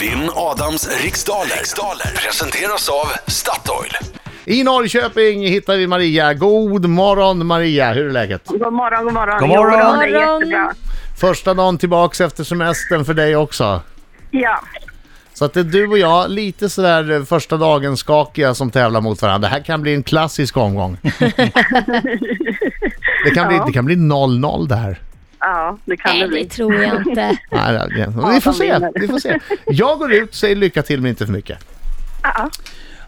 Vinn Adams riksdaler. riksdaler presenteras av Statoil. I Norrköping hittar vi Maria. God morgon Maria, hur är läget? God morgon, god morgon. God morgon. Jo, det är Morgon. jättebra. Första dagen tillbaks efter semestern för dig också. Ja, Så att det är du och jag, lite sådär eh, första dagen skakiga som tävlar mot varandra. Det här kan bli en klassisk omgång. det, kan bli, det kan bli 0-0 det här. ja det kan Nej, det det bli. tror jag inte. Nej, det- det- vi, får se, vi får se. Jag går ut, säger lycka till men inte för mycket. Ja,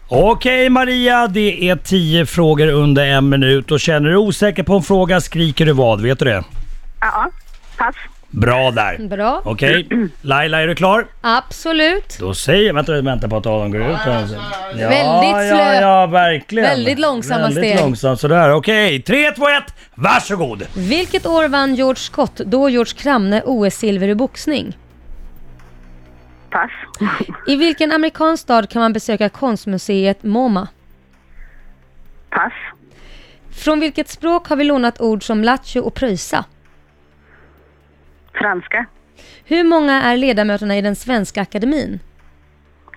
Okej Maria, det är 10 frågor under en minut och känner du osäker på en fråga skriker du vad, vet du det? ja. Pass. Bra där. Bra. Okej, Laila är du klar? Absolut. Då säger... Vänta, vänta på att Adam går ut. här. Ja, Väldigt Ja, slö. ja, verkligen. Väldigt långsamma Väldigt steg. långsamt, sådär. Okej, Tre, två, ett. varsågod! Vilket år vann George Scott, då George Kramne, OS-silver i boxning? Pass. I vilken amerikansk stad kan man besöka konstmuseet MoMA? Pass. Från vilket språk har vi lånat ord som lattjo och pröjsa? Franska. Hur många är ledamöterna i den svenska akademin?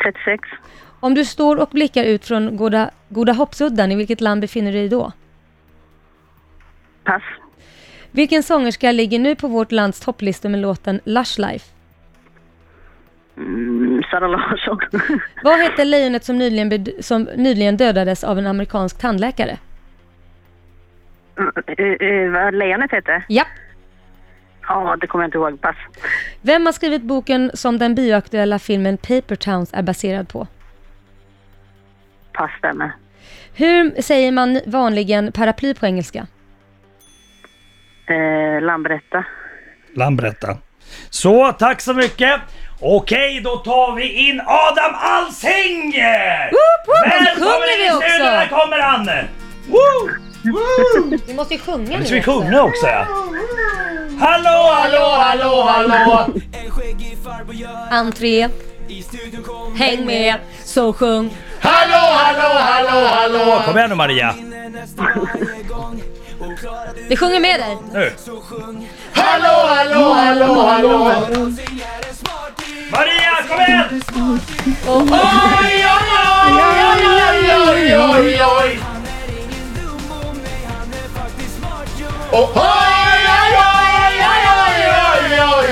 36. Om du står och blickar ut från Goda, Goda Hoppsudden, i vilket land befinner du dig då? Pass. Vilken sångerska ligger nu på vårt lands topplistor med låten Lush Life? Mm, Sara Larsson. Vad hette lejonet som nyligen, bed- som nyligen dödades av en amerikansk tandläkare? Eh, eh, Vad lejonet hette? Ja. Ja, det kommer jag inte ihåg. Pass. Vem har skrivit boken som den bioaktuella filmen Paper Towns är baserad på? Pass där med. Hur säger man vanligen paraply på engelska? Eh, Lambretta. Lambretta. Så, tack så mycket. Okej, då tar vi in Adam Alsinger! woop! Nu Välkommen sjunger in i studion, vi också. här kommer han! Woo! Woo! Vi måste ju sjunga Nu ska vi sjunga också ja. Hallå, hallå, hallå, hallå! En skäggig farbror gör Entré, I studion kommer häng med, så sjung. Hallå, hallå, hallå, hallå! Kom igen nu Maria. inne nästan varje gång Och klarar du Vi sjunger med dig. Nu. så sjung Hallå, hallå, hallå, hallå! Alsing är en smartis Maria, kom igen! Oj, oj, oj, oj, oj, oj, oj! Han är ingen dum om mig Han är faktiskt smart jo Snart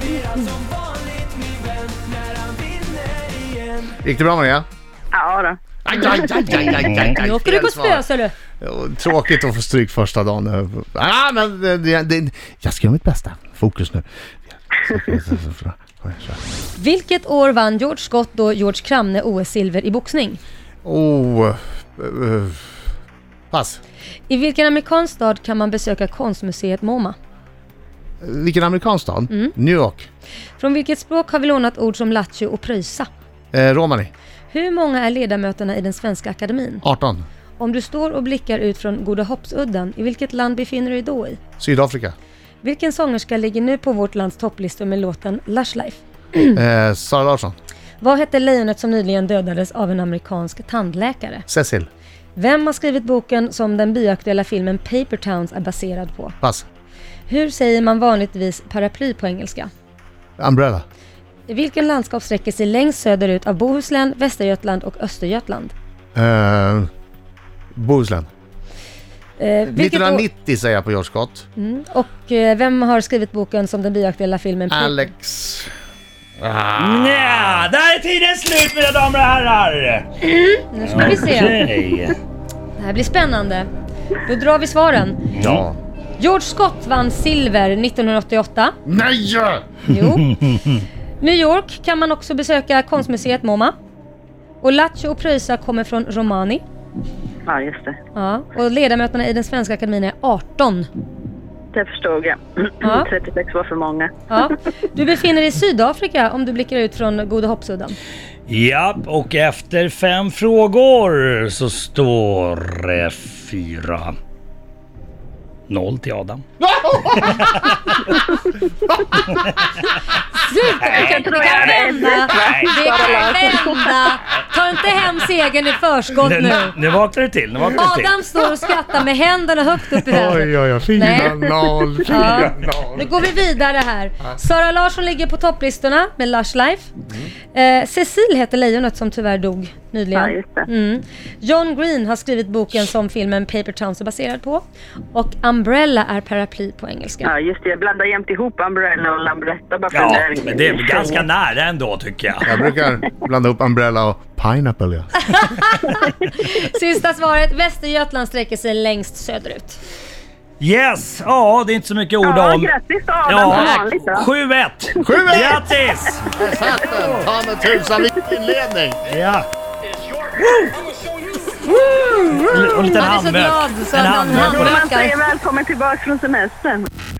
blir allt som vanligt min vän När han vinner igen Gick det bra Maria? Ja, då. Aj, aj, aj, aj, aj, aj, aj. Nu åker du på spö, sa du. Ja, Tråkigt att få stryk första dagen. Ah, men det, det, det, jag ska göra mitt bästa. Fokus nu. Vilket år vann George Scott då George Kramne OS-silver i boxning? Oh, eh, pass. I vilken amerikansk stad kan man besöka konstmuseet MoMA? Vilken amerikansk stad? New York. Från vilket språk har vi lånat ord som lattjo och pröjsa? Eh, Romani. Hur många är ledamöterna i den svenska akademin? 18. Om du står och blickar ut från Goda Hoppsudden, i vilket land befinner du dig då i? Sydafrika. Vilken sångerska ligger nu på vårt lands topplistor med låten Lush Life? Mm. Eh, Sara Larsson. Vad hette lejonet som nyligen dödades av en amerikansk tandläkare? Cecil. Vem har skrivit boken som den bioaktuella filmen Paper Towns är baserad på? Pass. Hur säger man vanligtvis paraply på engelska? Umbrella. Vilken landskap sträcker sig längst söderut av Bohuslän, Västergötland och Östergötland? Eh, Bohuslän. Eh, vilket år- 1990 säger jag på George Scott. Mm. Och eh, vem har skrivit boken som den bioaktuella filmen Paper- Alex. Nja, där är tiden slut mina damer och herrar! Nu ska vi se. Okej. Det här blir spännande. Då drar vi svaren. Ja. George Scott vann silver 1988. Nej! Jo. New York kan man också besöka konstmuseet MoMA. Och Lattjo och Pröjsa kommer från Romani. Ja, just det. Ja. Och ledamöterna i den svenska akademin är 18. Det förstod jag. Ja. 36 var för många. Ja. Du befinner dig i Sydafrika om du blickar ut från Goda Hoppsudden. Ja, och efter fem frågor så står det fyra. Noll till Adam. Sluta! Vi kan, vi kan vända! Vi kan vända! Ta en inte hem segern i förskott Nu, nu. nu vaknar du till, nu vaknar du till. Adam står och skrattar med händerna högt upp i Oj, vädret. oj, oj. Nej. 4-0, 4-0. Ja. Nu går vi vidare här. Sara Larsson ligger på topplistorna med Lush Life. Eh, Cecil heter lejonet som tyvärr dog Ja, nyligen. just det. Mm. John Green har skrivit boken som filmen Paper Towns är baserad på. Och Umbrella är paraply på engelska. Ja, just det. Jag blandar jämt ihop Umbrella och Lambretta bara för Ja, den där- men det är ganska nära ändå tycker jag. Jag brukar blanda upp umbrella och pineapple. Ja. Sista svaret. Västergötland sträcker sig längst söderut. Yes, ja det är inte så mycket ord Ja, om. grattis då Adam Ja, som vanligt då. 7-1! 7-1. Grattis! Ta med tusan vilken inledning! Ja. Och en liten Han är så handmök. glad så En att han handmök på det. Man handskakar. säger välkommen tillbaka från semestern.